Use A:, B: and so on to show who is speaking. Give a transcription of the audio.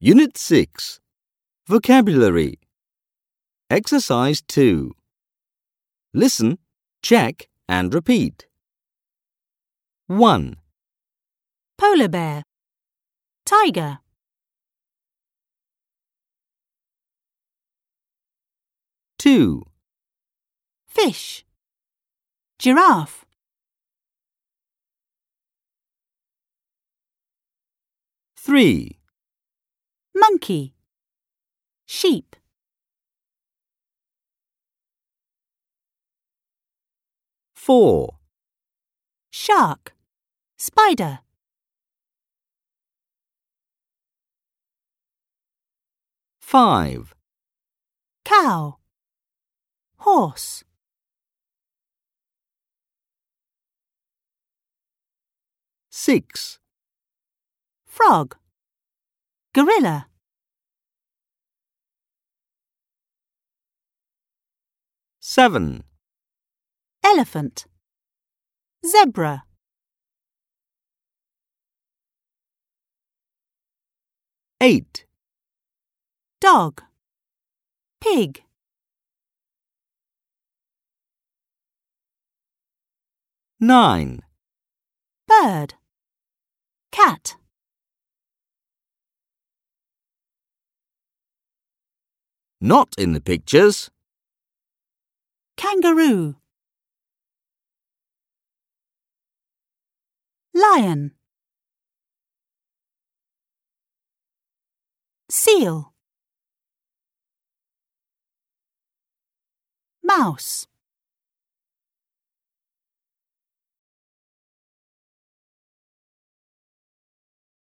A: Unit 6 Vocabulary Exercise 2 Listen, check, and repeat. 1,
B: polar bear, tiger,
A: two,
B: fish, giraffe,
A: three,
B: monkey, sheep,
A: four,
B: shark, spider,
A: five,
B: cow, horse,
A: six,
B: frog, gorilla,
A: seven,
B: elephant, zebra,
A: eight,
B: dog, pig,
A: nine,
B: bird, cat,
A: Not in the pictures.
B: kangaroo, lion, seal, mouse.